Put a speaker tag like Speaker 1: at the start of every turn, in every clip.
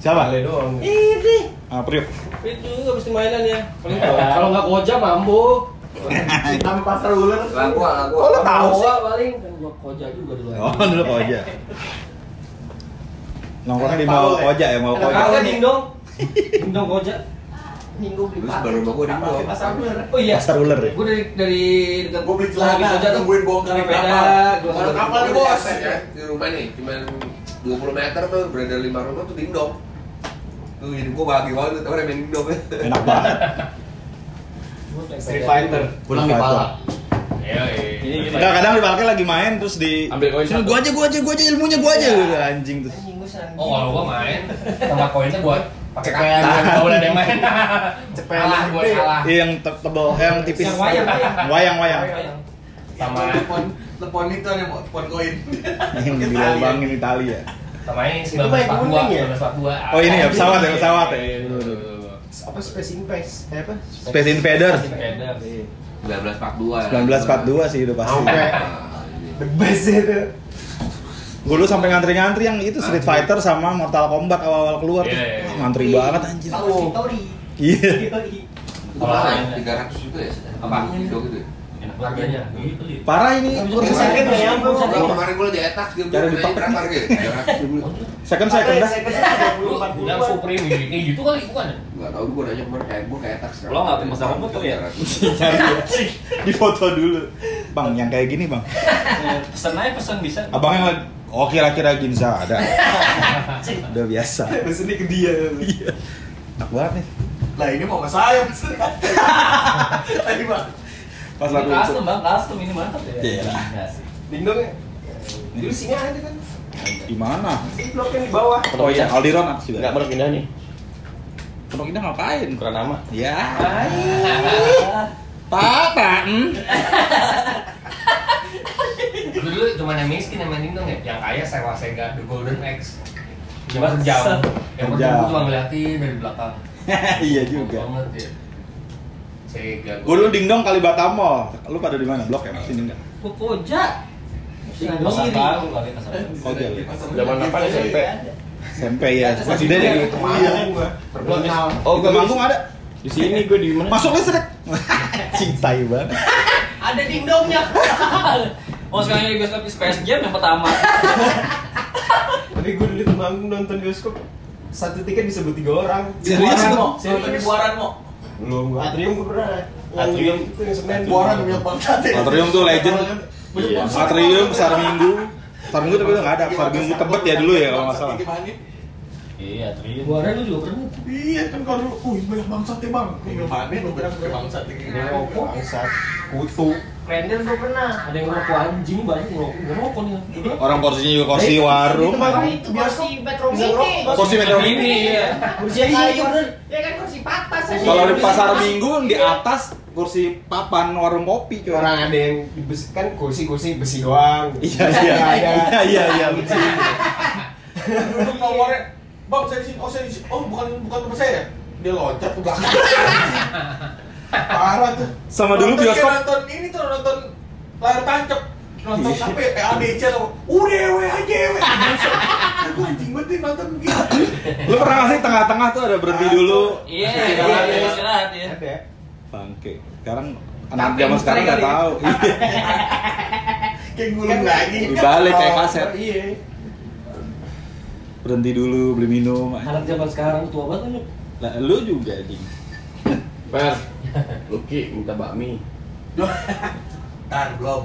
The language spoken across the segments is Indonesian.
Speaker 1: Siapa?
Speaker 2: Bale doang.
Speaker 1: Ini. Ah, Priuk.
Speaker 2: Fit juga mesti mainan ya. Paling
Speaker 3: Ya.
Speaker 2: tahu. Kalau nggak koja mambo.
Speaker 1: Sampai pasar ular.
Speaker 4: Lah gua, lah gua.
Speaker 1: Oh, lu tahu
Speaker 2: Gua
Speaker 1: sih.
Speaker 2: paling kan gua koja juga dulu.
Speaker 1: Oh, dulu koja. Nongkrongnya di mau
Speaker 5: Tahu,
Speaker 1: koja ya, mau
Speaker 2: Kalau
Speaker 1: koja.
Speaker 2: kagak dingdong. Dingdong koja.
Speaker 5: Minggu beli
Speaker 4: Terus
Speaker 5: pakai.
Speaker 4: baru rumah gua
Speaker 5: Pakai
Speaker 4: dingdong.
Speaker 5: pasar ular.
Speaker 2: Oh iya.
Speaker 1: Pasar ular ya.
Speaker 2: Gua dari dari dekat
Speaker 4: Gua beli celana,
Speaker 2: lagi koja tuh.
Speaker 4: nungguin bongkar
Speaker 2: Dari
Speaker 4: kapal.
Speaker 2: Medan, gua
Speaker 4: Kalau
Speaker 2: nggak-
Speaker 4: kapal nih bos.
Speaker 5: Kapal.
Speaker 4: Di rumah nih, cuman 20 meter tuh berada lima rumah tuh dingdong. Tuh hidup gua bahagia banget tuh, temen main dingdong.
Speaker 1: Enak banget.
Speaker 2: Gua naik
Speaker 5: Street
Speaker 2: sepeda.
Speaker 5: Fighter.
Speaker 1: Pulang di pala.
Speaker 3: Iya,
Speaker 1: Enggak, kadang di palknya lagi main terus di
Speaker 3: Ambil koin
Speaker 1: Sini
Speaker 3: satu.
Speaker 1: gua aja, gua aja, gua aja ilmunya gua aja Udah, anjing terus.
Speaker 5: Anjing gua senang.
Speaker 3: Oh kalau gua main, tambah koinnya gua pakai
Speaker 5: Cepen.
Speaker 3: kata. Gak boleh ada yang main.
Speaker 5: Cepen.
Speaker 3: Kalah gua kalah.
Speaker 1: Iya, yang te- tebel, eh, yang tipis.
Speaker 2: Yang wayang,
Speaker 1: Wayang, wayang.
Speaker 5: Iya.
Speaker 2: Wayang.
Speaker 3: Sama
Speaker 4: telepon telepon itu ada mau telepon koin.
Speaker 1: Yang dilobangin Italia.
Speaker 3: sama ini
Speaker 5: Itu mah yang
Speaker 3: 1942.
Speaker 5: kuning ya?
Speaker 3: 1942.
Speaker 1: Oh, ini ya, pesawat ya, pesawat ya.
Speaker 3: Iya, betul, betul, betul.
Speaker 5: Apa Space Invaders? Eh apa?
Speaker 1: Space Invaders.
Speaker 3: Space Invaders.
Speaker 6: iya.
Speaker 4: 1942 ya.
Speaker 1: 1942 sih udah pasti.
Speaker 4: Iya.
Speaker 5: Sampai the best itu.
Speaker 1: Gue dulu sampai ngantri-ngantri yang itu Street Fighter sama Mortal Kombat awal-awal keluar. tuh.
Speaker 3: Iya, iya, iya.
Speaker 1: Wah, Ngantri banget anjir.
Speaker 5: Tahu Victory.
Speaker 1: Iya.
Speaker 5: Victory.
Speaker 4: Kalau lain 300 juga ya. sudah. Apa? Dingdong gitu. ya?
Speaker 3: Enak banget. Gitu, gitu.
Speaker 1: Parah ini kursi
Speaker 5: Kursi
Speaker 1: second
Speaker 5: second
Speaker 1: ya.
Speaker 5: ya. ampun.
Speaker 4: Orang kemarin gua di attack dia
Speaker 1: Cari
Speaker 4: beli
Speaker 1: di
Speaker 4: berapa harga? ya? 300 dulu.
Speaker 1: Second second dah.
Speaker 3: Lu bilang Supreme
Speaker 6: iya,
Speaker 3: ini kayak gitu kali bukan?
Speaker 6: ya?
Speaker 4: Enggak tahu gua nanya kemarin kayak gua kayak Iya. attack sekarang.
Speaker 6: Lo nggak punya masa rambut tuh ya?
Speaker 4: 300.
Speaker 1: Cari ya. Di foto dulu. Bang, yang kayak gini, Bang.
Speaker 6: Eh, Pesen aja pesen bisa.
Speaker 1: Abang yang lagi Oh kira-kira Ginza ada. Udah biasa.
Speaker 5: Terus ini ke dia.
Speaker 1: Enak banget nih.
Speaker 5: Lah ini mau ke saya maksudnya. Tadi Bang.
Speaker 1: Pas
Speaker 6: Ini
Speaker 1: lagu itu.
Speaker 6: custom bang, custom ini mantap ya.
Speaker 1: Iya.
Speaker 6: Nggak sih.
Speaker 5: Dingdong ya. Dulu sini ada kan.
Speaker 1: Di mana?
Speaker 5: Ini bloknya di bawah.
Speaker 1: Oh iya, Aldiron aku juga.
Speaker 6: Nggak baru pindah nih.
Speaker 1: Pondok Indah ngapain?
Speaker 6: Kurang nama.
Speaker 1: Ya. Papa. hmm?
Speaker 3: Lu dulu cuma yang miskin yang main dingdong ya? Yang kaya sewa Sega The Golden Axe. Cuma sejam. Yang
Speaker 1: Sejam.
Speaker 3: pertama cuma ngeliatin dari belakang.
Speaker 1: Iya
Speaker 3: Keren
Speaker 1: juga.
Speaker 3: Banget ya. Sega.
Speaker 1: Gue dulu dingdong kali Batamol. Lu pada di mana? Blok ya pasti dingdong.
Speaker 2: Gua koja. Dingdong
Speaker 6: Pasar
Speaker 2: iri.
Speaker 6: baru kali pasar baru.
Speaker 1: Ojol ya.
Speaker 3: Zaman apa nih SMP?
Speaker 1: SMP ya. SD deh.
Speaker 5: Iya.
Speaker 6: Eh,
Speaker 5: Terkenal.
Speaker 1: Oh, gue manggung ada.
Speaker 6: Di sini gue di mana?
Speaker 1: Masuk listrik. Cintai banget.
Speaker 2: Ada dingdongnya.
Speaker 6: Oh sekarang ini gue di Space Jam yang pertama.
Speaker 5: Tapi gue dulu temanggung nonton bioskop satu tiket bisa buat tiga orang.
Speaker 1: Serius lu?
Speaker 5: Serius.
Speaker 4: Buaran mau.
Speaker 5: Belum gua. Atrium gua pernah.
Speaker 6: Atrium.
Speaker 5: Yang itu yang Senen.
Speaker 4: Buaran punya pangkat. ya?
Speaker 1: Atrium tuh legend.
Speaker 6: Iya.
Speaker 1: Atrium, Pasar Minggu. Pasar Minggu tapi udah nggak ada.
Speaker 4: Iya,
Speaker 1: Pasar Minggu tebet ya dulu ya kalau nggak salah.
Speaker 6: Iya Tri.
Speaker 2: Gua ada lu juga pernah.
Speaker 5: Iya kan kalau dulu, uh banyak bangsat ya bang.
Speaker 4: Mana lu berang bangsat ini?
Speaker 5: Rokok, bangsat, kutu. Render gua pernah.
Speaker 2: Ada yang ngerokok anjing banyak ngerokok. Ngerokok nih. Gua
Speaker 1: Orang porsinya juga kursi warung.
Speaker 5: Itu Iya, kursi metro mini.
Speaker 1: Kursi
Speaker 2: iya.
Speaker 1: metro
Speaker 6: Ini iya, ya.
Speaker 5: Kursi yang kayu.
Speaker 7: Ya kan kursi patah saya.
Speaker 1: Kalau di pasar minggu yang di atas kursi papan warung kopi cuy.
Speaker 5: Orang ada yang di besi- kan kursi-kursi besi doang.
Speaker 1: Iya iya
Speaker 5: Ada.
Speaker 1: iya iya iya.
Speaker 4: Duduk nawarnya. Bang saya di sini. Oh saya di sini. Oh bukan bukan tempat saya. ya?" Dia loncat ke belakang.
Speaker 1: Iya.
Speaker 4: Parah tuh.
Speaker 1: Sama dulu
Speaker 4: Nonton dia
Speaker 1: bioskop.
Speaker 4: nonton ini tuh nonton layar tancap. Nonton
Speaker 1: Iya.
Speaker 4: apa ya? PADC atau udah we aja we. Aku Nah, anjing banget nih nonton gitu.
Speaker 1: Lu pernah nggak sih tengah-tengah Nah, tuh ada berhenti dulu.
Speaker 6: Iya. Istirahat ya. Istirahat ya.
Speaker 5: Ada.
Speaker 1: Bangke. Sekarang anak zaman sekarang nggak tahu. Iya.
Speaker 5: Kayak gulung lagi.
Speaker 1: Dibalik kayak kaset.
Speaker 5: Kan Iya.
Speaker 1: Berhenti dulu beli minum.
Speaker 2: Anak zaman sekarang tua banget kan lu.
Speaker 1: Lah, lu juga ding.
Speaker 3: Per. Luki minta bakmi.
Speaker 4: Tar belum.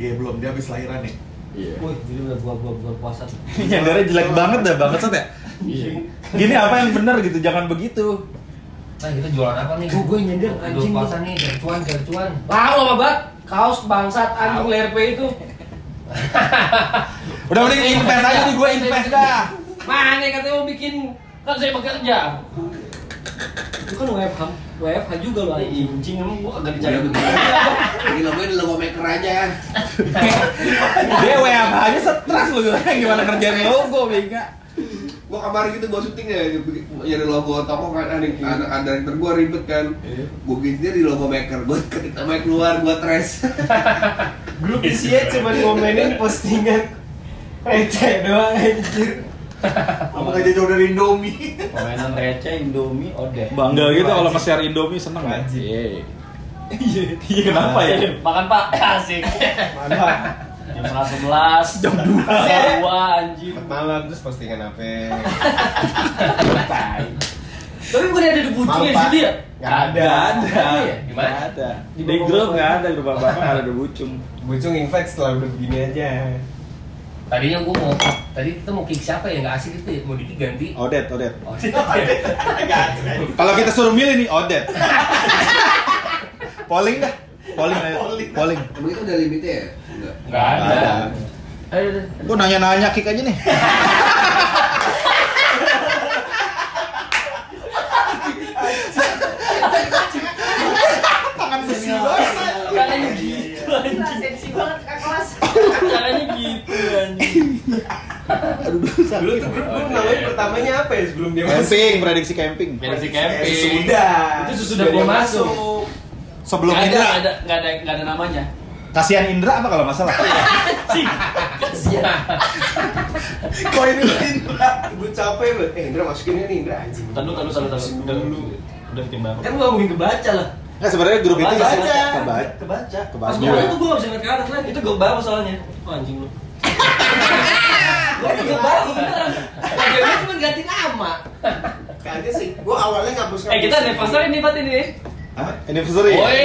Speaker 4: Dia belum dia habis lahiran nih.
Speaker 3: Iya.
Speaker 2: Wih, gila udah gua gua gua puasa. Nah, tuh.
Speaker 1: Iya, Nyandarnya jelek banget dah banget ya.
Speaker 3: Iya.
Speaker 1: Gini apa yang benar gitu, jangan begitu.
Speaker 3: Nah
Speaker 2: gitu.
Speaker 3: kita jualan apa nih?
Speaker 2: Tuh, gua nyender, anjing.
Speaker 3: Jual pasar nih, garcuan, garcuan.
Speaker 2: Lalu apa bat? Kaos bangsat anjing LRP itu.
Speaker 1: Udah mending invest aja nih gue invest dah.
Speaker 2: Mana yang katanya mau bikin kan saya bekerja. Itu kan WFH, WFH juga lu anjing. Iya, Anjing emang gua kagak dicari.
Speaker 4: Gila gue Iya, logo maker aja.
Speaker 1: Dia WFH aja stres lu gimana kerjaan logo bega.
Speaker 4: gua kemarin gitu gua syuting ya nyari logo toko kan ada
Speaker 1: Iya.
Speaker 4: anak ada yang gua ribet kan gua gigitnya di logo maker gua ketika main keluar gua trash
Speaker 5: Grup isinya cuma ngomenin postingan receh doang anjir. aja jauh dari Indomie.
Speaker 8: Pemainan receh Indomie odeh.
Speaker 1: Bangga gitu kalau nge-share Indomie seneng ya.
Speaker 5: Wajib.
Speaker 1: Iya. Iya kenapa ya?
Speaker 6: Makan pak, asik.
Speaker 5: Mana?
Speaker 6: Jam setengah sebelas. Jam dua. Dua anjing.
Speaker 5: Malam terus postingan apa?
Speaker 6: Tapi bukan ada di bucing ya
Speaker 5: Maaf, Pak.
Speaker 6: situ ya?
Speaker 5: Nggak ada.
Speaker 1: ada.
Speaker 3: Gimana?
Speaker 1: Nggak ada.
Speaker 6: Iya, Di
Speaker 1: Di
Speaker 6: bawah
Speaker 1: grup
Speaker 6: bawah.
Speaker 1: nggak ada, di bawah bapak nggak ada di bucung.
Speaker 5: Bucung invite setelah udah begini aja.
Speaker 3: Tadinya gua mau tadi kita mau kick siapa ya nggak asik itu ya. Mau dikit ganti.
Speaker 1: Odet, Odet.
Speaker 3: Oh, iya.
Speaker 1: Kalau kita suruh milih nih Odet. polling dah. Polling ayo. Polling.
Speaker 4: Emang itu ada limitnya ya? Enggak.
Speaker 3: Nggak ada. Ayo, ayo, ayo.
Speaker 1: Gua nanya-nanya kick aja nih. Tangan sisi banget.
Speaker 6: Caranya
Speaker 3: iya.
Speaker 6: gitu
Speaker 7: Gila,
Speaker 6: anjing.
Speaker 7: sensi banget kakak kelas.
Speaker 6: Caranya gitu anjing.
Speaker 5: Dulu tuh grup dulu namanya pertamanya apa ya sebelum dia masuk?
Speaker 1: Camping, prediksi camping.
Speaker 6: Versi
Speaker 5: Eh,
Speaker 6: camping.
Speaker 5: Sudah.
Speaker 6: Itu sudah gua masuk.
Speaker 1: Sebelum
Speaker 6: Nggak ada, nggak
Speaker 1: Indra.
Speaker 6: ada, nggak ada, nggak ada namanya.
Speaker 1: Kasihan Indra apa kalau masalah?
Speaker 6: Kasihan.
Speaker 5: Kok ini Indra? Gue capek banget. Eh Indra masukin ini Indra anjing.
Speaker 6: Tahu, tahu, tahu, tahu.
Speaker 5: Masukin
Speaker 6: Udah dulu.
Speaker 5: dulu.
Speaker 6: Udah ketimbang. Kan gua mungkin kebaca lah.
Speaker 1: Nah, sebenarnya grup itu
Speaker 6: Kebaca.
Speaker 1: isinya kebaca.
Speaker 6: Kebaca.
Speaker 1: Kebaca.
Speaker 6: Pas gua itu gua nggak bisa ngeliat ke atas lagi. Itu gua bawa soalnya. Oh, anjing lu. Gua tuh
Speaker 7: Iya,
Speaker 6: gua bawa beneran.
Speaker 7: Ada gue cuma ganti nama.
Speaker 5: Kayaknya sih. Gue awalnya ngapus
Speaker 6: Eh kita anniversary nih Pat ini.
Speaker 1: Hah? Anniversary.
Speaker 3: Woi.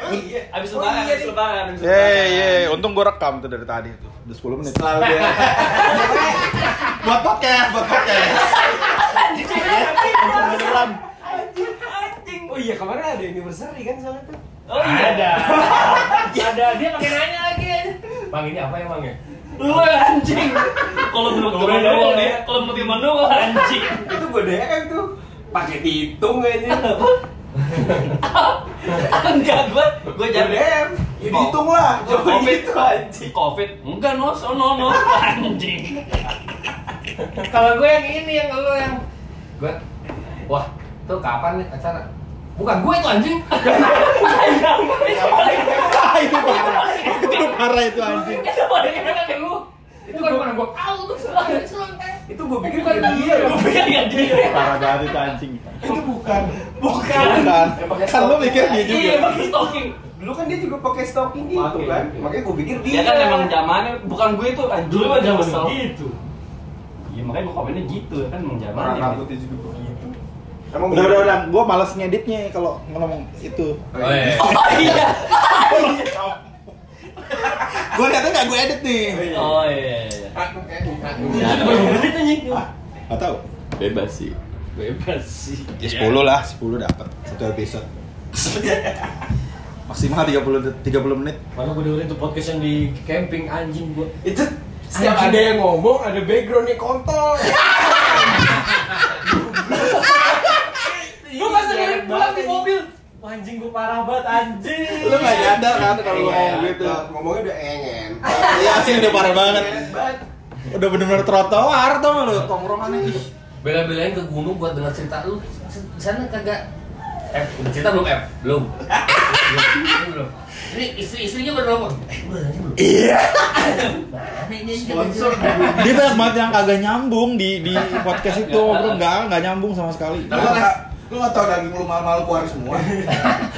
Speaker 5: Emang iya.
Speaker 6: Abis
Speaker 5: Oh,
Speaker 6: lebaran,
Speaker 5: iya,
Speaker 6: abis
Speaker 5: nih.
Speaker 6: lebaran, abis
Speaker 1: Yeay, yeay.
Speaker 6: lebaran.
Speaker 1: Untung gue rekam tuh dari tadi tuh. Udah 10 menit.
Speaker 5: Setelah udah.
Speaker 1: Buat podcast, buat podcast. Beneran.
Speaker 5: Oh iya kemarin ada anniversary kan soalnya tuh.
Speaker 6: Oh iya.
Speaker 3: Ada.
Speaker 6: Ada dia pakai nanya lagi.
Speaker 3: Bang ini apa emang ya?
Speaker 6: Lu anjing. Kalau belum
Speaker 5: Kalau belum
Speaker 6: ketemu
Speaker 5: ketemu.
Speaker 6: dia, kalau belum ketemu lu anjing.
Speaker 5: Itu gue DM tuh. Pakai dihitung aja.
Speaker 6: Enggak gua gua
Speaker 5: Gue
Speaker 6: jadi
Speaker 5: DM. Ya dihitung lah. Coba
Speaker 6: Covid.
Speaker 5: gitu anjing.
Speaker 6: Covid. Enggak no, so no no anjing.
Speaker 3: Kalau gue yang ini yang lo yang gue wah tuh kapan nih acara? Bukan gue itu anjing.
Speaker 1: Ah, itu parah. Itu parah itu anjing.
Speaker 6: Itu paling enak kayak lu.
Speaker 3: Itu kan mana gue tahu tuh
Speaker 7: Selalu selalu kan.
Speaker 5: Itu gue pikir kan dia.
Speaker 6: Lu pikir ya dia.
Speaker 1: Parah banget itu anjing.
Speaker 5: Itu
Speaker 1: Kan,
Speaker 5: bukan. Bukan.
Speaker 1: kan lu mikir dia
Speaker 6: Iya,
Speaker 1: juga.
Speaker 6: pakai stocking.
Speaker 5: Dulu kan dia juga pakai stocking gitu
Speaker 6: Pakai.
Speaker 5: kan. Makanya gue pikir dia.
Speaker 6: Dia kan emang zamannya bukan gue itu anjing.
Speaker 2: Dulu mah zaman
Speaker 6: Kesel.
Speaker 2: begitu.
Speaker 6: Iya makanya gua komennya gitu kan emang
Speaker 5: Orang
Speaker 6: zamannya.
Speaker 5: rambutnya juga begitu. Emang
Speaker 1: Udah, udah, udah. Gue males ngeditnya kalau ngomong itu.
Speaker 3: Oh iya.
Speaker 6: Oh iya.
Speaker 1: Gue liatnya nggak gue edit nih.
Speaker 6: Oh iya. iya.
Speaker 5: Iya.
Speaker 6: Berapa menit anjing?
Speaker 1: Gak tau.
Speaker 8: Bebas sih.
Speaker 6: Bebas sih.
Speaker 1: Ya 10 lah, 10 dapat satu episode. Maksimal 30 det- 30 menit.
Speaker 2: Mana gue dengerin tuh podcast yang di camping anjing gue.
Speaker 5: Itu setiap ada yang ngomong ada backgroundnya kontol.
Speaker 6: Gue pas dengerin pulang di mobil.
Speaker 2: Wah, Anjing gue parah banget anjing.
Speaker 1: Lu gak
Speaker 3: ya?
Speaker 1: nyadar kan kalau
Speaker 5: Iya,
Speaker 1: gua ngomong gitu.
Speaker 5: udah, Ngomongnya udah engen.
Speaker 1: Iya sih udah parah banget.
Speaker 5: Engen banget.
Speaker 1: Udah bener-bener trotoar tuh lu tongkrongannya. Ih,
Speaker 3: Bela-belain ke gunung buat dengar cerita lu. Di sana kagak F, udah cerita belum F? Belum. Belum, belum. Ini istri-istrinya baru ngomong. Eh, belum, belum. Mana ini anjing?
Speaker 5: Sponsor.
Speaker 1: Dia banyak banget yang kagak nyambung di di podcast itu, bro. Enggak, enggak nyambung sama sekali.
Speaker 5: Lu nggak lu nggak tahu daging lu mahal-mahal keluar semua.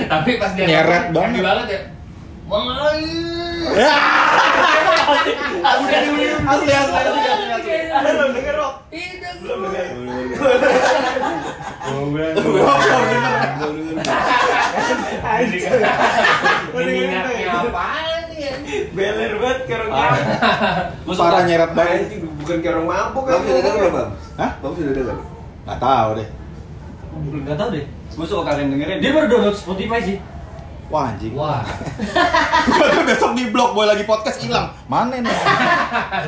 Speaker 3: Tapi pas dia
Speaker 1: Nyeret
Speaker 3: ngomong,
Speaker 1: banget. Ya.
Speaker 3: happy banget ya. Bang Ali.
Speaker 1: Asli, asli, asli, asli.
Speaker 5: Belum denger Rob. Belum denger.
Speaker 4: Oh,
Speaker 5: Anjing.
Speaker 3: Minatnya apaan nih anjing?
Speaker 5: Beler banget ke orang kampung.
Speaker 6: Gua suka-
Speaker 1: Parah nyeret banget.
Speaker 5: Anjing bukan ke orang mabuk kan.
Speaker 4: Bang sudah dengar belum, Bang?
Speaker 1: Hah?
Speaker 4: Bang sudah dengar?
Speaker 1: Enggak tahu deh.
Speaker 6: Gak tau deh. Eh, Gue suka kalian dengerin.
Speaker 2: Dia baru download Spotify sih.
Speaker 1: Wah, anjing.
Speaker 3: Wah,
Speaker 1: Gua tuh besok di blog boy lagi podcast hilang. Mana nih?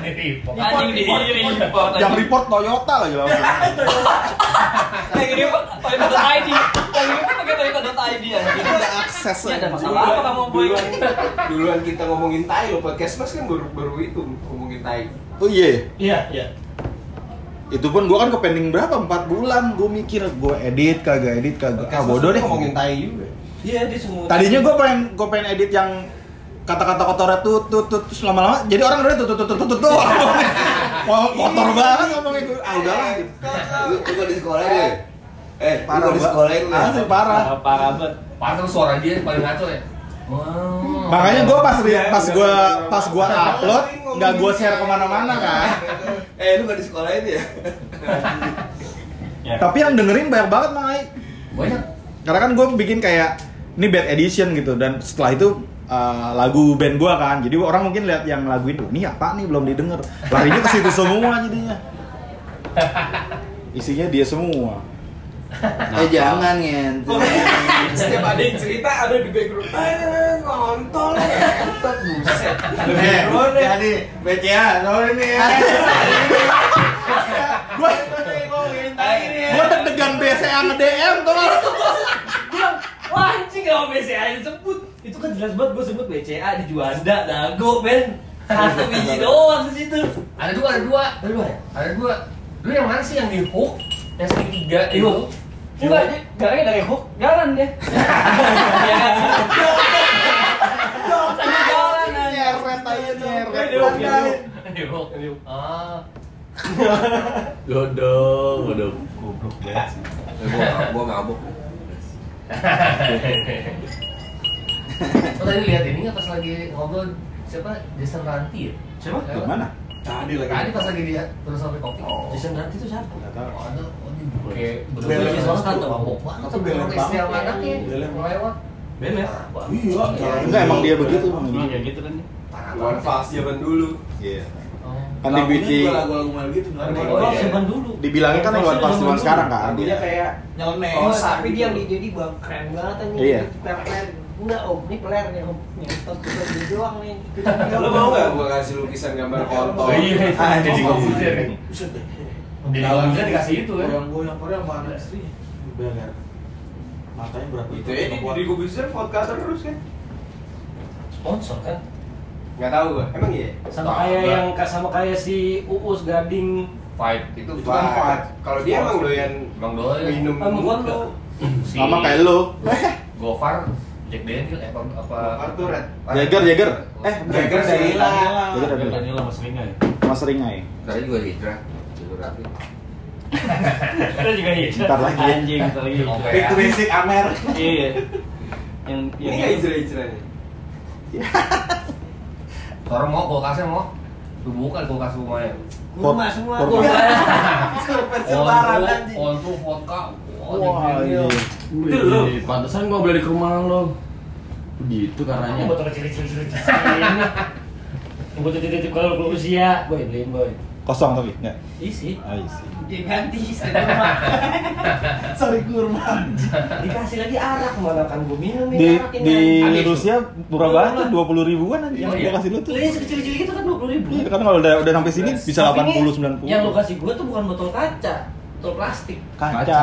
Speaker 3: ini tipe.
Speaker 6: Anjing di report.
Speaker 1: Yang report Toyota lagi langsung.
Speaker 6: Yang gede Pak. Toyota ID. Yang gede Pak, pakai Toyota ID anjing.
Speaker 1: Ada akses.
Speaker 6: Ini ada masalah apa kamu boy?
Speaker 5: Duluan, duluan kita ngomongin tai lo podcast mas kan baru baru itu ngomongin tai.
Speaker 1: Oh iya.
Speaker 2: Iya, iya.
Speaker 1: Itu pun gua kan ke pending berapa? 4 bulan. Gua mikir gua edit kagak edit kagak. Ah bodoh deh.
Speaker 5: ngomongin tai juga.
Speaker 6: Iya, dia semua.
Speaker 1: Tadinya gua pengen gua pengen edit yang kata-kata kotornya tut tut tut terus lama-lama jadi orang udah tut tut tut tut tut, tut. Wah, kotor banget ngomongnya gue. Ah, udahlah.
Speaker 4: Eh, Lu lu gak di sekolah deh. Eh, lu gak di sekolah lu. ya?
Speaker 1: Asli parah.
Speaker 8: Parah parah banget.
Speaker 3: Padahal suara dia yang paling ngaco ya. Wow.
Speaker 1: Makanya gue pas ri- pas gue pas gue upload nggak gue share kemana-mana kan.
Speaker 4: Eh, lu gak di sekolah itu ya?
Speaker 1: Tapi yang dengerin banyak banget Mai.
Speaker 3: banyak.
Speaker 1: Karena kan gue bikin kayak ini bad edition gitu dan setelah itu uh, lagu band gue kan. Jadi orang mungkin lihat yang lagu itu ini apa nih belum didengar. Larinya ke situ semua jadinya. Isinya dia semua.
Speaker 8: Eh jangan ngen.
Speaker 4: Oh, iya.
Speaker 6: Setiap ada yang cerita ada di background.
Speaker 4: Eh,
Speaker 6: Ah, ngontol. Entot buset.
Speaker 5: jadi BCA soalnya ini ya.
Speaker 1: Gue gue deg-degan BCA nge DM tuh.
Speaker 6: Wah, anjing gak mau BCA disebut. Itu kan jelas banget gue sebut BCA di Juanda, dago, men. Satu biji doang di situ.
Speaker 3: Ada dua, ada dua.
Speaker 6: Ada dua ya?
Speaker 3: Ada dua. Lu yang mana sih yang di hook? Yang segitiga
Speaker 6: Iya.
Speaker 3: itu?
Speaker 6: Enggak, dia garangnya dari hook, jalan deh. Iya kan? Sambil jalan aja.
Speaker 1: Nyeret aja nyeret.
Speaker 6: Di hook, di hook.
Speaker 3: Yang Di hook.
Speaker 6: Di hook.
Speaker 3: Ah.
Speaker 8: Godong, godong. Goblok banget sih.
Speaker 4: Eh, gua- Gua ngabuk.
Speaker 3: Lo tadi lihat ini nggak pas lagi ngobrol siapa Jason Ranti ya?
Speaker 6: Siapa?
Speaker 1: Yang mana?
Speaker 5: Tadi lagi.
Speaker 4: kan?
Speaker 3: Tadi pas lagi dia terus sampai kopi.
Speaker 6: Jason Ranti itu siapa?
Speaker 1: Nggak tahu.
Speaker 3: Oh, ada- oh, ini Oke,
Speaker 6: Belek banget tuh.
Speaker 3: mabok banget.
Speaker 5: Atau belek
Speaker 3: Orang istri
Speaker 5: banget.
Speaker 3: sama anaknya
Speaker 5: Belek.
Speaker 3: lewat.
Speaker 6: Bener.
Speaker 3: Parah banget.
Speaker 5: Iya.
Speaker 1: Enggak emang dia begitu emang.
Speaker 8: Emang kayak gitu kan ya?
Speaker 3: Parah
Speaker 4: One
Speaker 3: banget.
Speaker 4: fast zaman dulu.
Speaker 1: Iya.
Speaker 3: Oh.
Speaker 1: Kan dibikin
Speaker 5: lagu-lagu malu gitu.
Speaker 3: Lagu-
Speaker 5: lagu-
Speaker 6: Kalau
Speaker 3: iya.
Speaker 6: zaman dulu.
Speaker 1: dibilangnya kan yang pas
Speaker 6: Zaman dulu.
Speaker 1: sekarang kan.
Speaker 5: Lagunya kayak nyeleneh.
Speaker 6: Oh, tapi dia yang jadi bang keren banget nih.
Speaker 1: Iya.
Speaker 6: Peler, enggak om, ini peler nih om. Nyetot cuma dia doang nih.
Speaker 4: Lu mau nggak gua kasih lukisan gambar kontol?
Speaker 3: Ah, jadi
Speaker 5: Oh, iya.
Speaker 3: konfusir ya. Jadi konfusir dikasih itu ya.
Speaker 5: Orang gue yang Korea sama anak istrinya.
Speaker 6: Iya, kan?
Speaker 5: Beler. Matanya berapa?
Speaker 4: Itu ya,
Speaker 5: Berapa
Speaker 4: jadi
Speaker 5: kuat?
Speaker 4: podcaster terus kan?
Speaker 6: Sponsor kan? Nah,
Speaker 4: Nggak tahu gua. Emang iya?
Speaker 2: Sama kayak yang sama kayak si Uus Gading.
Speaker 3: Fight.
Speaker 4: Itu kan bukan fat. Kalau dia emang doyan
Speaker 3: Bang Doyan.
Speaker 6: Hmm.
Speaker 4: minum.
Speaker 2: Sama gua lu.
Speaker 3: Si
Speaker 1: sama kayak lu.
Speaker 3: Gofar, Jack Daniel, eh, apa? apa
Speaker 4: Arthur Red.
Speaker 1: Jager, Jager. Eh,
Speaker 5: Iya.
Speaker 4: Jager dari
Speaker 1: Jager
Speaker 8: Dia
Speaker 1: ada.
Speaker 8: tanya lama sering ya?
Speaker 1: Mas Ringai.
Speaker 4: Tadi juga hijrah. Jalur api.
Speaker 6: Kita juga iya.
Speaker 1: Bentar lagi.
Speaker 8: Anjing, bentar lagi.
Speaker 3: Oke.
Speaker 5: Back to basic Amer.
Speaker 8: Iya. Yang
Speaker 4: Ini nggak
Speaker 8: yang
Speaker 4: hijrah-hijrah nih?
Speaker 3: Orang mau kulkasnya mau? Lu bukan kulkas rumahnya.
Speaker 6: Kurma semua.
Speaker 1: Kurma.
Speaker 6: Kurma.
Speaker 3: Sebaran anjing. Onto vodka. Wah,
Speaker 1: Wah, iya.
Speaker 3: Jack Daniel.
Speaker 1: anjing.
Speaker 8: Itu lu. Pantesan gua beli di rumah lo. Begitu
Speaker 6: Ini
Speaker 8: caranya.
Speaker 6: botol kecil-kecil kecil. Ini botol titip kalau kalau usia, boy beliin boy.
Speaker 1: Kosong tapi enggak.
Speaker 6: Isi.
Speaker 1: Ah, isi.
Speaker 7: Diganti sama
Speaker 5: Sorry kurma.
Speaker 6: Dikasih lagi arak mana kan gue minum
Speaker 1: Di
Speaker 6: ini arak
Speaker 1: di
Speaker 6: ini.
Speaker 3: Habis.
Speaker 1: Rusia murah banget tuh 20 ribuan anjing yang
Speaker 3: Oh,
Speaker 1: gua
Speaker 3: iya.
Speaker 1: kasih lu tuh.
Speaker 6: Belinya sekecil-kecil gitu kan dua puluh ribu.
Speaker 1: Iya, kan kalau udah udah sampai sini bisa 80 90.
Speaker 6: Yang lo kasih gue tuh bukan botol kaca, botol plastik.
Speaker 1: kaca.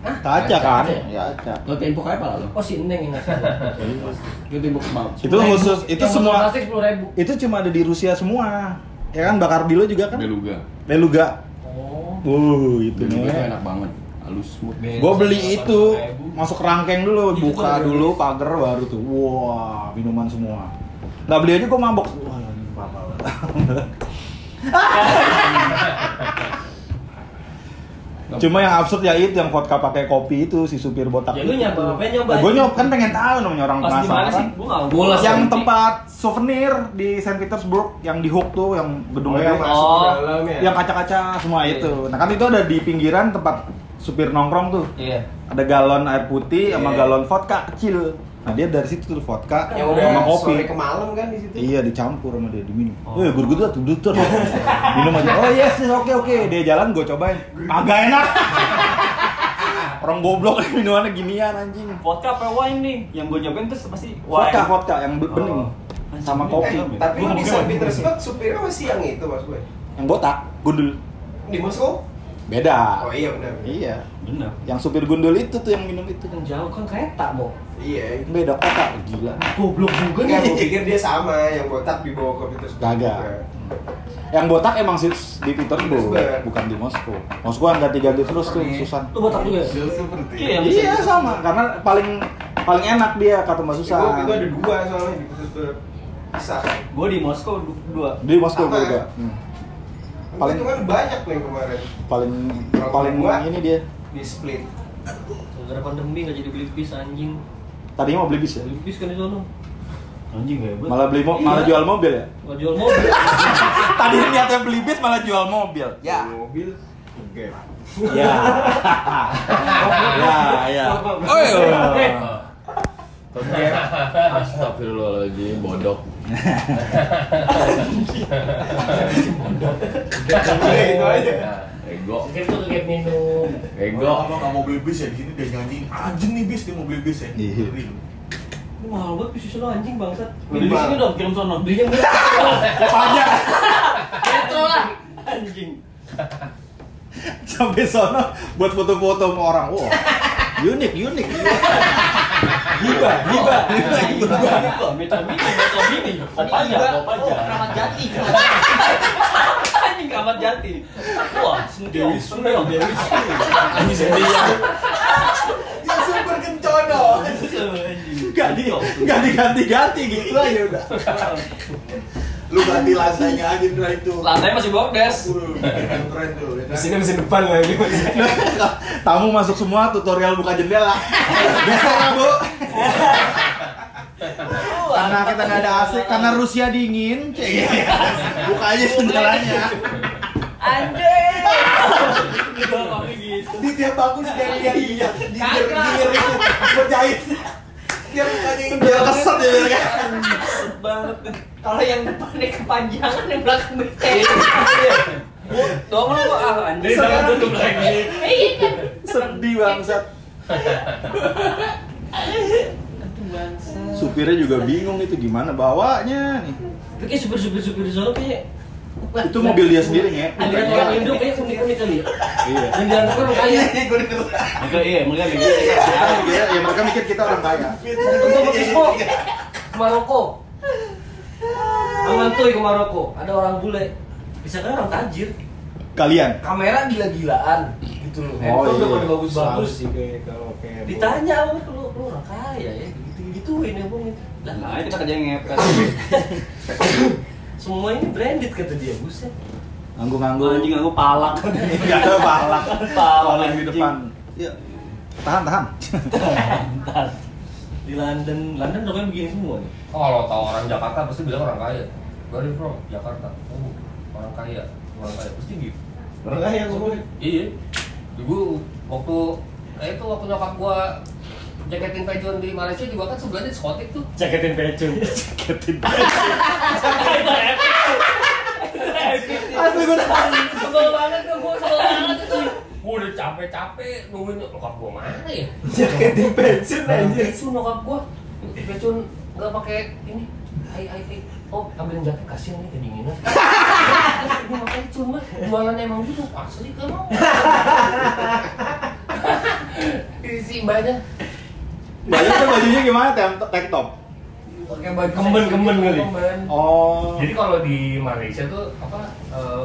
Speaker 6: Hah?
Speaker 1: Kaca kan?
Speaker 6: Kaca.
Speaker 1: Ya, kaca.
Speaker 8: Lo tempo kayak apa lo?
Speaker 6: Oh si Neng yang ngasih.
Speaker 8: Lo tempo kemau.
Speaker 1: Itu khusus itu semua
Speaker 6: plastik sepuluh ribu.
Speaker 1: itu cuma ada di Rusia semua. Ya kan bakar dilo juga kan?
Speaker 8: Beluga.
Speaker 1: Beluga.
Speaker 6: Oh.
Speaker 1: Uh, itu
Speaker 8: Beluga kan? tuh
Speaker 1: nih.
Speaker 8: enak banget. Halus smooth.
Speaker 1: Gue beli itu, masuk rangkeng dulu,
Speaker 6: Itu
Speaker 1: buka
Speaker 6: tuh.
Speaker 1: dulu, pagar baru tuh. Wah, minuman semua. Nggak beli aja gue mabok. Wah, ini batal. Cuma yang absurd ya itu yang vodka pakai kopi itu si supir botak.
Speaker 6: Ya lu nyoba apa nyoba?
Speaker 1: gue nyoba kan pengen tahu namanya orang
Speaker 6: Pas di mana sih?
Speaker 1: penasaran.
Speaker 6: Gue nggak
Speaker 3: Bola
Speaker 1: Yang
Speaker 3: Nanti.
Speaker 1: tempat souvenir di Saint Petersburg yang di Hook tuh yang gedung
Speaker 5: iya,
Speaker 4: Oh, yang
Speaker 1: gede.
Speaker 4: masuk ke
Speaker 6: Oh.
Speaker 4: dalam ya?
Speaker 1: yang kaca-kaca semua itu. Nah, kan itu ada di pinggiran tempat supir nongkrong tuh
Speaker 6: Iya.
Speaker 1: ada galon air putih sama
Speaker 4: Iya.
Speaker 1: galon vodka kecil nah dia dari situ tuh vodka
Speaker 4: Yang Ya
Speaker 5: Ya
Speaker 4: udah
Speaker 1: Iya, sama kopi
Speaker 4: sore ke malam kan di situ.
Speaker 1: iya dicampur sama dia diminum
Speaker 6: Oh.
Speaker 1: oh. eh gue gue tuh tuh minum aja oh yes yes, oke oke dia jalan gue cobain agak enak orang goblok minumannya ginian anjing
Speaker 6: Vodka apa wine nih?
Speaker 8: Yang gue nyobain terus pasti
Speaker 1: vodka vodka yang be-
Speaker 8: Oh.
Speaker 1: bening sama kopi
Speaker 4: Eh, tapi
Speaker 8: Gua
Speaker 4: lu
Speaker 8: mungkin
Speaker 4: di Saint
Speaker 8: lagi-
Speaker 4: Petersburg supirnya masih yang itu mas gue.
Speaker 1: yang botak gundul
Speaker 4: Di Moskow?
Speaker 1: beda
Speaker 4: Oh iya benar.
Speaker 1: iya
Speaker 8: Bener.
Speaker 1: yang supir gundul itu tuh yang minum itu
Speaker 6: Yang jauh kan kereta mau.
Speaker 4: Iya.
Speaker 1: beda kota gila
Speaker 6: Goblok juga
Speaker 4: Enggak, gue
Speaker 6: nih.
Speaker 4: pikir dia sama yang botak dibawa ke Petersburg.
Speaker 1: Kagak.
Speaker 4: Nah.
Speaker 1: yang botak emang sih di Petersburg
Speaker 4: Petersburg.
Speaker 1: bukan di Moskow Moskow angkat tiga terus tuh Susan
Speaker 6: Lu botak juga. ya? Iya. yang
Speaker 1: Iya
Speaker 6: bisa-
Speaker 1: sama, karena paling paling enak dia kata Mbak
Speaker 4: Susah. Gue
Speaker 5: Ya,
Speaker 1: Susan.
Speaker 4: ada dua soalnya di Petersburg. Bisa.
Speaker 8: Gue di Moskow du- dua.
Speaker 1: Di Moskow
Speaker 4: Sama.
Speaker 1: juga. Hmm. Paling-
Speaker 5: itu kan banyak yang kemarin
Speaker 1: paling paling
Speaker 5: Gua-
Speaker 1: ini dia
Speaker 5: di split
Speaker 6: Gara-gara pandemi nggak jadi beli bis anjing.
Speaker 1: tadinya mau beli bis ya
Speaker 6: Beli bis kan di sono.
Speaker 9: Anjing hebat.
Speaker 1: malah beli mo-
Speaker 6: Iya.
Speaker 1: malah jual mobil ya
Speaker 6: Nggak jual mobil.
Speaker 1: tadi niatnya beli bis malah jual mobil ya
Speaker 5: mobil
Speaker 1: Oke. Ya. ya, ya.
Speaker 9: Oh,
Speaker 1: Oi.
Speaker 9: iya.
Speaker 6: Eh,
Speaker 9: Astagfirullahaladzim, bodok.
Speaker 5: itu
Speaker 4: Oh,
Speaker 5: aja
Speaker 9: Ego,
Speaker 3: Mungkin tuh kayak minum.
Speaker 9: ego.
Speaker 4: iya. Kalau nggak mau beli bis ya di sini dia nyanyiin anjing nih bis dia mau beli bis ya.
Speaker 1: Iya.
Speaker 4: Ngeri lu.
Speaker 6: Ini mahal banget bis di sono anjing bangsat.
Speaker 9: Beli di sini dong, kirim sono.
Speaker 6: Belinya murah.
Speaker 3: Metro lah.
Speaker 6: anjing.
Speaker 1: Sampai sono buat foto-foto sama orang. Wah. Unik, unik.
Speaker 6: Hiba, hiba, hiba, hiba, hiba, meta mini, meta mini, kopaja, kopaja,
Speaker 10: Keramat jati.
Speaker 6: anjing kamar jati, wah, Dewi Sunil, Dewi Sunil,
Speaker 1: Ini sendirian.
Speaker 4: Ya super kencono.
Speaker 1: Enggak di enggak diganti-ganti gitu aja udah.
Speaker 4: Lu ganti lantainya aja udah itu.
Speaker 6: lantai masih bordes,
Speaker 4: Udah, yang keren tuh. ya kan?
Speaker 5: mesinnya mesin depan lagi
Speaker 1: Tamu masuk semua tutorial buka jendela. Besok lah, Bu. karena kita nggak ada AC, karena Rusia dingin, cek. Buka aja jendelanya.
Speaker 11: Anjir.
Speaker 4: Di tiap bangun setiap dia iya, digir-gir berjahit. Dia mukanya
Speaker 1: Dia keset ya. biar kan.
Speaker 10: banget. Kalau yang depannya kepanjangan yang belakang becek.
Speaker 6: dong lu ah anjing,
Speaker 3: Dari dalam tutup lagi.
Speaker 10: Iya kan.
Speaker 1: Sedih bangsat. Supirnya juga bingung itu gimana bawanya nih.
Speaker 6: tapi kayak supir supir supir di sono kayak
Speaker 1: Itu mobil dia sendiri ya.
Speaker 6: ada orang Indo kayak unik unik kali, ya.
Speaker 1: Iya.
Speaker 6: yang di antar orang kaya,
Speaker 9: Mereka iya, mereka gitu.
Speaker 1: Mereka mikir, ya mereka mikir kita orang kaya.
Speaker 6: untuk Meksiko, ke Maroko, Amantuy ke Maroko, ada orang bule, bisa kan orang tajir,
Speaker 1: Kalian.
Speaker 6: kamera gila-gilaan gitu loh, handphone udah pada bagus-bagus,
Speaker 5: sih kayak kalau kayak
Speaker 6: ditanya lu lu lu orang kaya ya gitu gituin ya bung lah
Speaker 10: Nah, kita kerja ngepet.
Speaker 6: semua ini branded kata dia buset
Speaker 1: Anggung-anggung.
Speaker 10: Anjing aku palak.
Speaker 1: Enggak ada palak. Palak di
Speaker 10: anjing.
Speaker 1: depan. Iya. Tahan, tahan.
Speaker 6: di London London pokoknya begini semua nih
Speaker 3: Oh, kalau tahu orang Jakarta pasti bilang orang kaya. Dari from Jakarta. Oh, orang kaya, orang kaya pasti gitu.
Speaker 5: orang kaya ngomongnya
Speaker 3: Iya. Dulu waktu eh itu waktu nyokap gua jaketin pensiun di Malaysia juga kan sebelahnya diskotik tuh.
Speaker 6: ceketin pecun ceketin
Speaker 1: Asli gue
Speaker 3: Sebel banget tuh gua, sebel banget itu. Gua udah capek-capek nungguin nyokap gua mana ya?
Speaker 5: jaketin pensiun aja
Speaker 3: Pecun nyokap gua. Pecun nggak pakai ini. Hai hai hai. Oh, ambilin jaket kasihan nih kedinginan. Ini makanya cuma jualan emang gitu. Asli kamu. Isi mbaknya
Speaker 1: Banyak tuh bajunya gimana? Tem- Tank top.
Speaker 3: pakai baju
Speaker 6: Kemben,
Speaker 3: seksi,
Speaker 6: kemben kali.
Speaker 3: kemben.
Speaker 1: Oh.
Speaker 3: Jadi kalau di Malaysia tuh apa eh,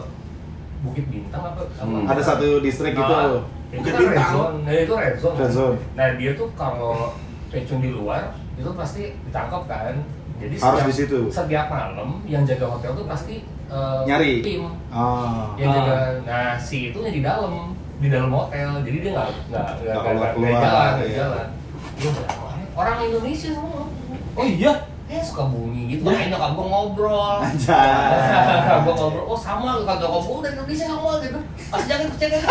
Speaker 3: Bukit Bintang apa? apa-
Speaker 1: Hmm. Ada satu distrik gitu.
Speaker 3: Ah, itu
Speaker 4: Bukit
Speaker 3: kan red
Speaker 4: Bintang.
Speaker 3: zone. Nah, itu red zone.
Speaker 1: Red zone.
Speaker 3: Nah, dia tuh kalau pecun di luar itu pasti ditangkap kan. Jadi
Speaker 1: Harus
Speaker 3: setiap,
Speaker 1: di situ.
Speaker 3: Setiap malam yang jaga hotel tuh pasti eh,
Speaker 1: Nyari.
Speaker 3: tim
Speaker 1: Ah.
Speaker 3: yang jaga. Nah, si itu di dalam di dalam hotel. Jadi dia nggak nggak nggak
Speaker 1: keluar-
Speaker 3: nggak-
Speaker 1: keluar,
Speaker 3: nggak jalan nggak
Speaker 1: iya.
Speaker 3: jalan. Dia bilang, "Wah, Orang Indonesia semua.
Speaker 6: oh iya
Speaker 3: Eh suka bunyi gitu, makanya nyokap gue ngobrol
Speaker 1: Anjay.
Speaker 3: Gue ngobrol, oh sama lu kan nyokap gue udah Indonesia sama gitu Pas jangan gitu. percaya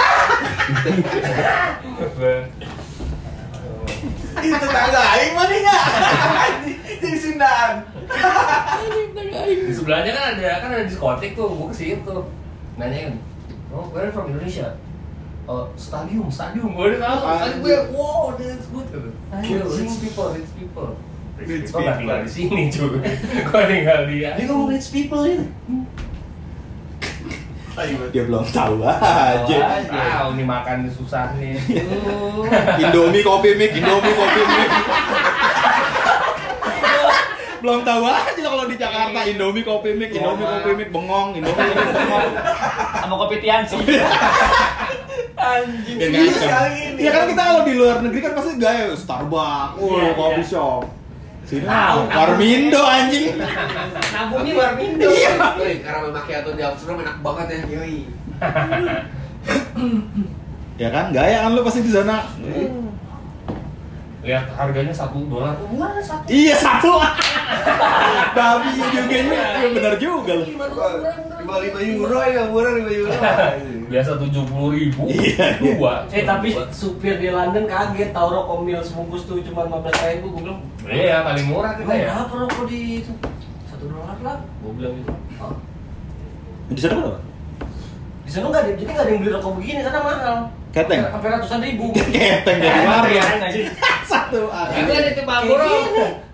Speaker 4: itu tangga aing mana ya? Jadi Sundaan.
Speaker 3: Di sebelahnya kan ada kan ada diskotik tuh, gue ke situ. Nanyain, oh, where from Indonesia? Oh, stadium, stadium, gue udah tahu. Tadi gue, wow, that's good. gitu. Rich people, rich people. Rich people nggak tinggal di sini cuy, gue tinggal di.
Speaker 6: dia ngomong rich people ya
Speaker 1: Dia belum tahu aja.
Speaker 3: Wow, ini makan susah nih.
Speaker 1: Indomie kopi mik, Indomie kopi mik. belum tahu aja kalau di Jakarta Indomie kopi mik, Indomie kopi mik bengong, Indomie kopi mik bengong.
Speaker 10: Sama kopi tian sih.
Speaker 1: Biar Iya, ngacem. Ya kan kita kalau di luar negeri kan pasti gaya eh, Starbucks, oh,
Speaker 10: Iya,
Speaker 1: coffee
Speaker 10: iya.
Speaker 1: shop. Sini lah, Warmindo anjing.
Speaker 2: Nabungnya warmindo.
Speaker 4: Iya. Wih, karamel macchiato di Amsterdam enak banget ya.
Speaker 5: Yoi.
Speaker 1: Ya kan, gaya kan lu pasti di sana.
Speaker 3: Lihat harganya satu dolar. Wah, satu.
Speaker 1: Iya satu. Babi juga ini, ya benar juga lu.
Speaker 4: Lima lima euro ya murah lima euro.
Speaker 3: Biasa tujuh puluh ribu.
Speaker 1: Iya, iya.
Speaker 3: Dua.
Speaker 6: Eh tapi
Speaker 3: Dua.
Speaker 6: supir di London kaget tahu rokok mil sebungkus tuh cuma 15 ribu gue bilang
Speaker 3: Iya, paling murah kita
Speaker 6: Emang
Speaker 3: ya.
Speaker 6: berapa rokok di itu? Satu dolar lah Gue bilang gitu oh.
Speaker 1: Di sana berapa?
Speaker 6: Di sana nggak ada, jadi nggak ada yang beli rokok begini karena mahal
Speaker 1: Keteng.
Speaker 6: Sampai ratusan ribu
Speaker 1: Keteng ya. dari
Speaker 6: Iya,
Speaker 1: Maria.
Speaker 6: nggak sih?
Speaker 1: Satu.
Speaker 3: Itu ada di Marlboro.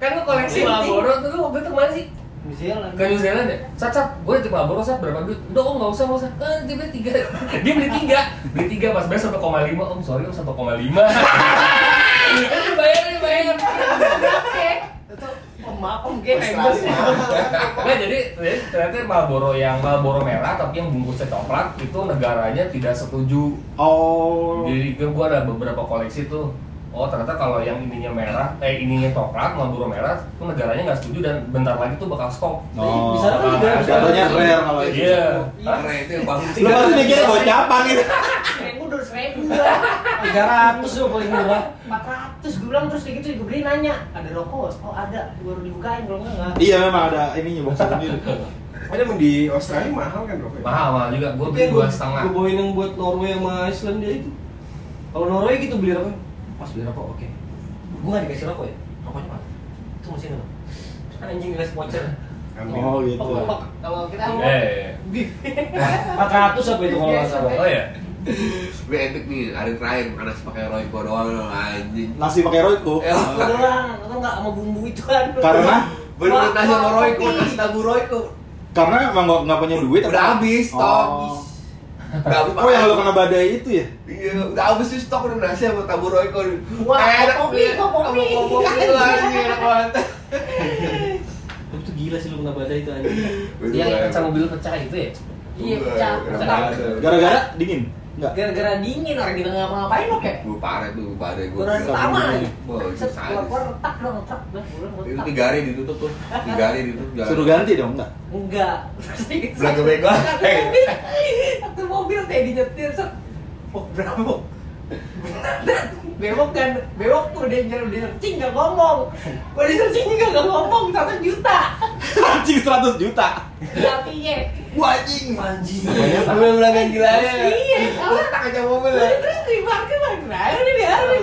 Speaker 3: Kan lu koleksi Marlboro tuh lu waktu itu kemana sih?
Speaker 6: Di Zealand.
Speaker 3: Ke New Zealand ya? Sat, sat, gue di Marlboro, sat, berapa duit? Udah om, gak usah, gak usah Eh, dia beli tiga Dia beli tiga Beli tiga, pas bayar 1,5 Om, sorry om, 1,5 Kan dibayar, dibayar Oke
Speaker 6: Oh maaf om Iya. gue
Speaker 12: Australia mahal kan?
Speaker 3: Nah, jadi, jadi ternyata Marlboro yang Marlboro merah tapi yang bungkusnya coklat itu negaranya tidak setuju.
Speaker 1: Oh.
Speaker 3: Jadi gue gua ada beberapa koleksi tuh. Oh ternyata kalau yang ininya merah, eh ininya coklat, Marlboro merah, itu negaranya nggak setuju dan bentar lagi tuh bakal stop.
Speaker 1: Oh.
Speaker 6: Di sana kan juga ada
Speaker 1: Jatuhnya rare kalau itu. Iya.
Speaker 3: Iya. Hah?
Speaker 4: Karena itu yang bagus.
Speaker 1: Lu pasti mikirnya gocapan gitu.
Speaker 7: seribu dua seribu
Speaker 6: Tiga ratus tuh paling murah
Speaker 7: empat ratus gue bilang terus kayak gitu gue beli nanya ada rokok oh ada Gua baru dibukain kalau enggak enggak
Speaker 1: Iya memang ada ininya box sendiri.
Speaker 5: Ada emang di Australia mahal kan rokoknya?
Speaker 3: Mahal mahal juga, gue
Speaker 5: Itu
Speaker 3: beli
Speaker 5: yang
Speaker 3: dua
Speaker 5: gua-
Speaker 3: setengah.
Speaker 5: gua bawain yang buat Norway sama Iceland dia itu. Kalau Norway gitu beli rokok.
Speaker 6: Mas beli rokok oke Gue nggak dikasih rokok ya? Rokoknya mana? Itu mesin lo Anjing dikasih voucher
Speaker 5: Ambil.
Speaker 1: Oh gitu.
Speaker 7: kalau kita iya.
Speaker 3: Eh,
Speaker 6: 400 apa itu kalau nggak salah
Speaker 3: oh ya.
Speaker 4: Tapi epic nih, hari terakhir panas pakai Royco doang loh, anjing.
Speaker 1: Nasi pakai royco.
Speaker 4: Eh,
Speaker 7: Gua doang atau enggak sama bumbu itu kan
Speaker 1: Karena
Speaker 4: Bener-bener nasi sama Royco,
Speaker 7: Kopi.
Speaker 4: nasi tabu Royco.
Speaker 1: karena emang nggak nggak punya duit.
Speaker 4: Udah
Speaker 1: apa?
Speaker 4: habis, stok.
Speaker 1: Oh.
Speaker 4: Udah habis.
Speaker 1: Oh yang
Speaker 4: makan.
Speaker 1: lu kena badai itu ya?
Speaker 4: Iya, udah habis tuh stok udah nasi sama tabu Royco.
Speaker 7: Wah,
Speaker 4: Enak, liat.
Speaker 7: kopi, Iya, kopi.
Speaker 4: eh, Sama kopi lu, anjing, enak banget.
Speaker 6: Tapi itu gila sih lu kena badai itu anjing iya.
Speaker 3: Yang kaca mobil pecah itu ya.
Speaker 7: iya pecah
Speaker 4: Kenapa ada?
Speaker 1: Gara-gara dingin? Enggak.
Speaker 7: gara-gara dingin orang kita nggak ngapa-ngapain lo kayak
Speaker 4: Gue parah tuh, badai gue.
Speaker 7: Kurang pertama
Speaker 4: Wah, itu
Speaker 7: Set,
Speaker 4: sadis.
Speaker 7: keluar retak dong retak Gua bilang, gua
Speaker 4: Itu
Speaker 7: retak.
Speaker 4: tiga hari ditutup tuh, tiga hari ditutup. jalan.
Speaker 1: Suruh ganti dong enggak?
Speaker 7: enggak
Speaker 4: Belaga bego.
Speaker 7: satu mobil satu mobil teh dinyetir set oh bravo bewok kan bewok tuh dia nyuruh dia searching nggak ngomong gua di searching juga nggak ngomong satu juta
Speaker 1: Anjing 100 juta.
Speaker 7: artinya
Speaker 4: Wah, anjing.
Speaker 6: Anjing
Speaker 4: Gue bilang gila ya.
Speaker 7: iya kalau
Speaker 4: Utang aja mobil
Speaker 7: gua
Speaker 4: ya.
Speaker 7: terus di parkir lagi nah ini biarin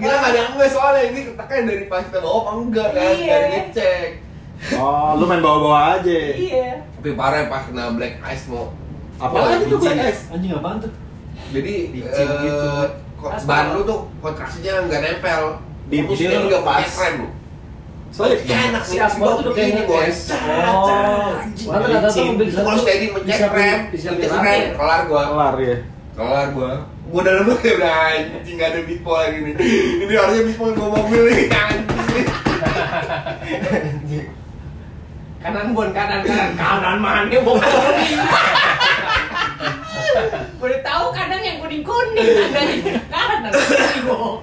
Speaker 4: Gila gak ada yang enggak soalnya ini ketekan dari pas kita bawa apa enggak kan
Speaker 7: Iya.
Speaker 4: dari ngecek.
Speaker 1: Oh, lu main bawa-bawa aja.
Speaker 7: iya
Speaker 4: Tapi parah ya pas kena black ice mau.
Speaker 1: Apalagi itu black ice.
Speaker 6: Anjing apaan tuh?
Speaker 4: Jadi
Speaker 5: Licin
Speaker 4: eh,
Speaker 5: gitu.
Speaker 4: ko-
Speaker 7: Aspal.
Speaker 4: ban lu tuh kontraksinya nggak nempel.
Speaker 1: Di
Speaker 4: Terus
Speaker 1: sini
Speaker 4: dia
Speaker 1: lu
Speaker 4: nggak pakai
Speaker 1: pas.
Speaker 4: rem lu.
Speaker 1: Solid dong.
Speaker 4: Enak
Speaker 6: Si
Speaker 4: sih
Speaker 6: aspal tuh udah kayak
Speaker 4: begini boys.
Speaker 6: ngetes.
Speaker 4: Oh.
Speaker 6: Orang ternyata mobil di sana
Speaker 4: Kalau
Speaker 6: tuh
Speaker 4: steady mencet
Speaker 6: bisa beli-
Speaker 4: rem,
Speaker 6: bisa beli
Speaker 4: mencet
Speaker 6: rame.
Speaker 4: rem, kelar gua.
Speaker 1: Kelar ya.
Speaker 4: Oh, Kelar gua. Gua udah lembut ya udah anjing nggak ada beatball lagi nih. Ini harusnya beatball gua mobil nih anjing.
Speaker 7: kanan bon kanan kanan kanan mana bon boleh tahu kadang yang kuning kuning ada di kanan gua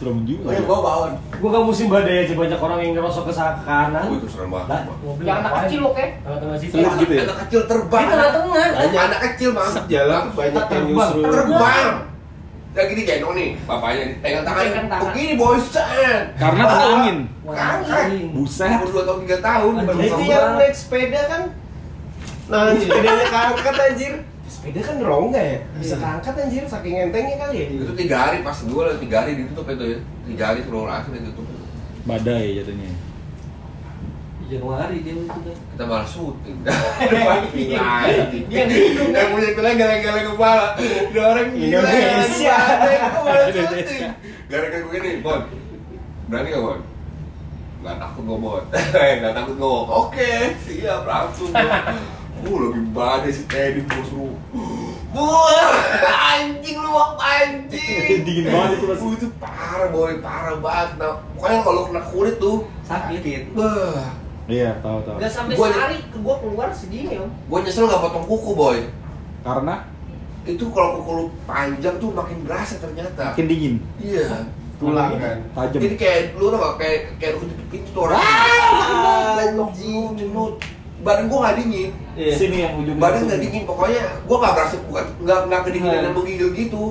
Speaker 1: Serem juga.
Speaker 4: Oh ya gua bawon.
Speaker 6: Gua kan musim badai aja banyak orang yang ngerosok ke sa-
Speaker 4: Gua
Speaker 6: kanan
Speaker 4: Oh, itu serem
Speaker 6: Lah,
Speaker 4: banget.
Speaker 6: mobil
Speaker 7: yang anak
Speaker 6: ngapain?
Speaker 7: kecil lo kayak
Speaker 6: Tengah-tengah situ
Speaker 1: Selip gitu ya.
Speaker 4: Anak kecil terbang.
Speaker 7: di tengah-tengah
Speaker 4: Banyak. Anak kecil bang.
Speaker 5: Jalan banyak yang nyusru.
Speaker 4: Terbang. Lagi di gendong nih, bapaknya nih. Pegang tangan.
Speaker 7: Pegang tangan.
Speaker 4: Begini boys.
Speaker 1: Karena kena angin.
Speaker 4: Kangen.
Speaker 1: Buset.
Speaker 4: Umur 2 tahun 3 tahun.
Speaker 6: Anjing.
Speaker 4: baru
Speaker 5: Itu
Speaker 4: sama
Speaker 5: yang
Speaker 4: gua.
Speaker 5: naik sepeda kan Nah, sepedanya keangkat anjir Sepeda kan rongga ya? Bisa keangkat anjir, saking entengnya kali ya
Speaker 4: Itu 3 hari pas gua lah 3 hari ditutup itu ya. 3 hari sebelum akhir ditutup.
Speaker 1: Badai jatuhnya.
Speaker 6: Januari dia itu kan
Speaker 4: Kita malah syuting. Iya, Lagi. Yang punya itu lagi geleng-geleng kepala. Iya, Ada gitu. orang gila.
Speaker 1: Indonesia.
Speaker 4: Kok malah syuting.
Speaker 1: Indonesia.
Speaker 4: Gara-gara gue gini, Bon. Berani gak, Bon? Gak takut gue, Bon. Gak Eh, takut gue. Oke, siap langsung. Uh, lagi badai si Teddy gue suruh. Buah, anjing lu wak anjing.
Speaker 1: Dingin banget itu pasti.
Speaker 4: Uh, itu parah boy, parah banget. Nah, pokoknya kalau kena kulit tuh
Speaker 6: Sakit
Speaker 4: Bah,
Speaker 1: Iya, tahu tahu.
Speaker 7: nggak sampai
Speaker 4: Gua-
Speaker 7: sehari gua keluar segini om
Speaker 4: gue nyesel gak potong kuku boy.
Speaker 1: Karena
Speaker 4: Itu kalau kuku lu panjang tuh makin berasa ternyata.
Speaker 1: makin dingin.
Speaker 4: Iya.
Speaker 5: tulang kan
Speaker 1: tajam
Speaker 4: Ini kayak lu tau gak, kayak kayak lu jepit pintu tuh orang.
Speaker 1: Ah,
Speaker 4: Anjing, mulut. Badan gua nggak dingin,
Speaker 6: Iya.
Speaker 1: Iya. sini yang ujung
Speaker 4: badan nggak dingin. Pokoknya gua nggak berasa bukan nggak nggak kedinginan yang menggigil gitu.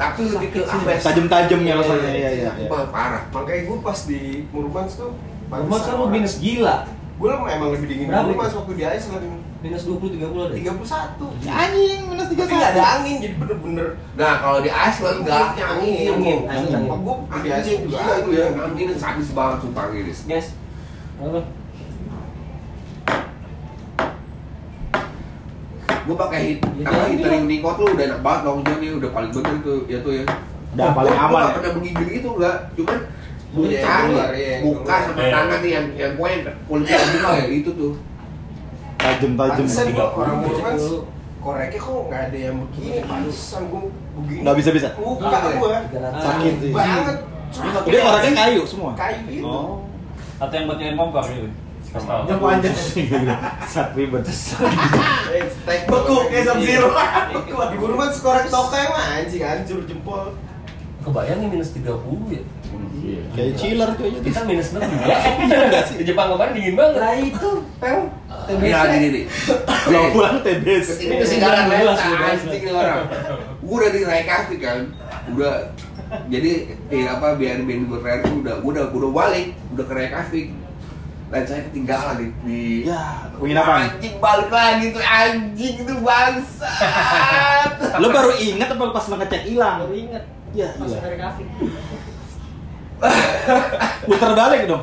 Speaker 4: Tapi lebih ke apes.
Speaker 1: Iya. tajam-tajam ya rasanya iya iya iya.
Speaker 4: Wah, parah.
Speaker 5: makanya gue pas di Murmans tuh
Speaker 6: Rumah kan lu minus gila.
Speaker 5: gue emang lebih dingin
Speaker 6: Berapa?
Speaker 5: dari Murmans waktu di Iceland
Speaker 6: Minus 20 30 ada.
Speaker 5: 31 satu
Speaker 1: anjing minus tiga
Speaker 5: tapi nggak ada angin jadi bener-bener
Speaker 4: Nah, kalau di
Speaker 1: Iya,
Speaker 4: Iceland nggak
Speaker 5: angin
Speaker 4: Iya,
Speaker 6: Angin, angin.
Speaker 5: angin gue di Iceland
Speaker 4: Anjing
Speaker 5: juga
Speaker 4: gila
Speaker 5: itu
Speaker 4: itu ya,
Speaker 5: yang bikin
Speaker 4: angin sadis banget sumpah Inggris.
Speaker 6: Guys. Apa?
Speaker 4: Gua pakai hit,
Speaker 5: Iya,
Speaker 4: apa heater yang nikot lu udah enak banget dong hujan ya, udah paling bener tuh, ya tuh ya.
Speaker 1: udah
Speaker 4: Gua-
Speaker 1: paling
Speaker 4: gua
Speaker 1: aman
Speaker 4: nggak
Speaker 1: ya
Speaker 4: pernah menggigil gitu enggak, cuman
Speaker 5: Iya,
Speaker 4: buka,
Speaker 5: keluar, iya,
Speaker 4: buka
Speaker 5: keluar.
Speaker 4: sama tangan nih yang yang pokoknya kulitnya buka ya itu tuh.
Speaker 1: tajam-tajam
Speaker 5: Pantesan gua orang Murmans koreknya kok nggak ada yang begini pantesan gue begini
Speaker 1: nggak bisa bisa
Speaker 5: buka gue
Speaker 1: sakit sih
Speaker 5: banget
Speaker 1: dia orangnya kayu semua
Speaker 5: Iya. kayu gitu
Speaker 8: Atau yang buat nyari kompor gitu. Kasih tau.
Speaker 12: Yang panjang.
Speaker 1: sakit betes
Speaker 5: Nah, beku kayak sub zero beku di Murmans korek tokai mah anjing hancur jempol
Speaker 6: Kebayang nih minus 30 ya.
Speaker 1: kayak chiller cuy itu
Speaker 6: Kita minus 6 ya. Iya enggak sih? Di Jepang kemarin dingin banget.
Speaker 7: Nah itu, pel.
Speaker 4: Iya, gini nih.
Speaker 1: kalau pulang TBS
Speaker 4: Ini
Speaker 6: Ini
Speaker 4: kesegaran lewat
Speaker 6: jelas, jelas.
Speaker 4: anjing nih orang. Gua udah di Rai Cafe kan. Udah jadi eh, apa biar band gue terakhir tuh udah gua udah gua udah balik, udah ke Rai Cafe. Lensanya ketinggalan di, di
Speaker 1: ya penginapan
Speaker 4: Anjing balik lagi tuh anjing itu bangsat.
Speaker 1: lo baru inget apa lu pas lo ngecek hilang
Speaker 7: Baru inget.
Speaker 1: ya
Speaker 7: Pas
Speaker 1: iya
Speaker 7: dari kafe.
Speaker 1: putar balik dong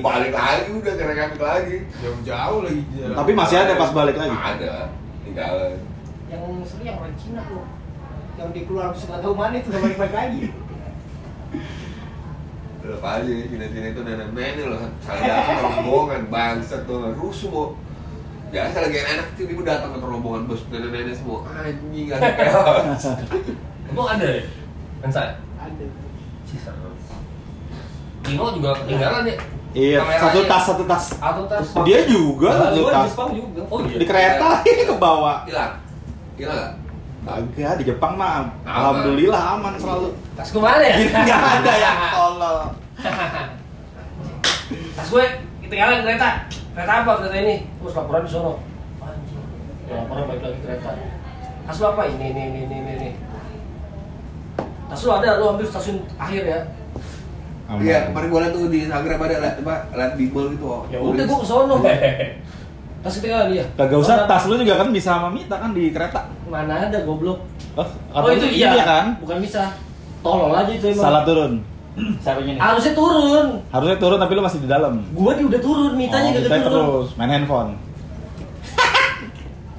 Speaker 4: balik lagi udah ke Rai Cafe lagi.
Speaker 5: jauh-jauh lagi jalan.
Speaker 1: tapi masih ada pas balik lagi
Speaker 4: Ada tinggalan.
Speaker 7: Yang seru yang orang Cina tuh. Yang di keluar habis nggak tahu mana itu nggak balik-balik lagi.
Speaker 4: Tetep aja, Cina-Cina itu nenek nenek loh Salah datang rombongan, bangsat tuh Rusuh mau Biasa lagi enak tiba-tiba datang ke rombongan bos nenek-nenek semua Anjing, gak ada
Speaker 3: Emang ada ya? Lensa?
Speaker 7: Ada.
Speaker 3: Sisa. Kino juga ketinggalan ya?
Speaker 1: iya satu tas satu tas
Speaker 3: Atau tas?
Speaker 1: dia juga satu
Speaker 6: Gua di
Speaker 1: tas
Speaker 6: Jepang juga.
Speaker 3: Oh iya.
Speaker 1: di kereta ini ke bawah
Speaker 4: Hilang Hilang gak?
Speaker 1: Kagak, di Jepang mah alhamdulillah aman selalu.
Speaker 3: Tas gue mana ya?
Speaker 1: Gini nggak ada yang tolol.
Speaker 3: Tas gue ketinggalan kereta. Kereta apa kereta ini? Terus laporan di sono. Anjing. Ya, Laporan balik lagi kereta. Tas lu apa? Ini, ini, ini, ini, ini, ini. Tas lu ada, lu ambil stasiun akhir ya.
Speaker 4: Iya, kemarin gue liat tuh di Instagram ada liat apa, liat bimbel gitu oh.
Speaker 3: Ya udah gua ke sono. Tas ketinggalan dia.
Speaker 1: Kagak usah, tas lu juga kan bisa sama Mita kan di kereta.
Speaker 6: Mana ada goblok.
Speaker 1: Oh,
Speaker 3: Oh
Speaker 1: katanya
Speaker 3: itu iya,
Speaker 1: iya kan?
Speaker 3: bukan bisa. Tolol aja itu
Speaker 6: Iya.
Speaker 3: emang.
Speaker 1: Salah turun. Caranya
Speaker 3: Harusnya turun.
Speaker 1: Harusnya turun tapi lu masih di dalam.
Speaker 6: Gua di udah turun, mitanya
Speaker 1: Oh,
Speaker 6: kagak
Speaker 1: Mita
Speaker 6: turun.
Speaker 1: terus main handphone.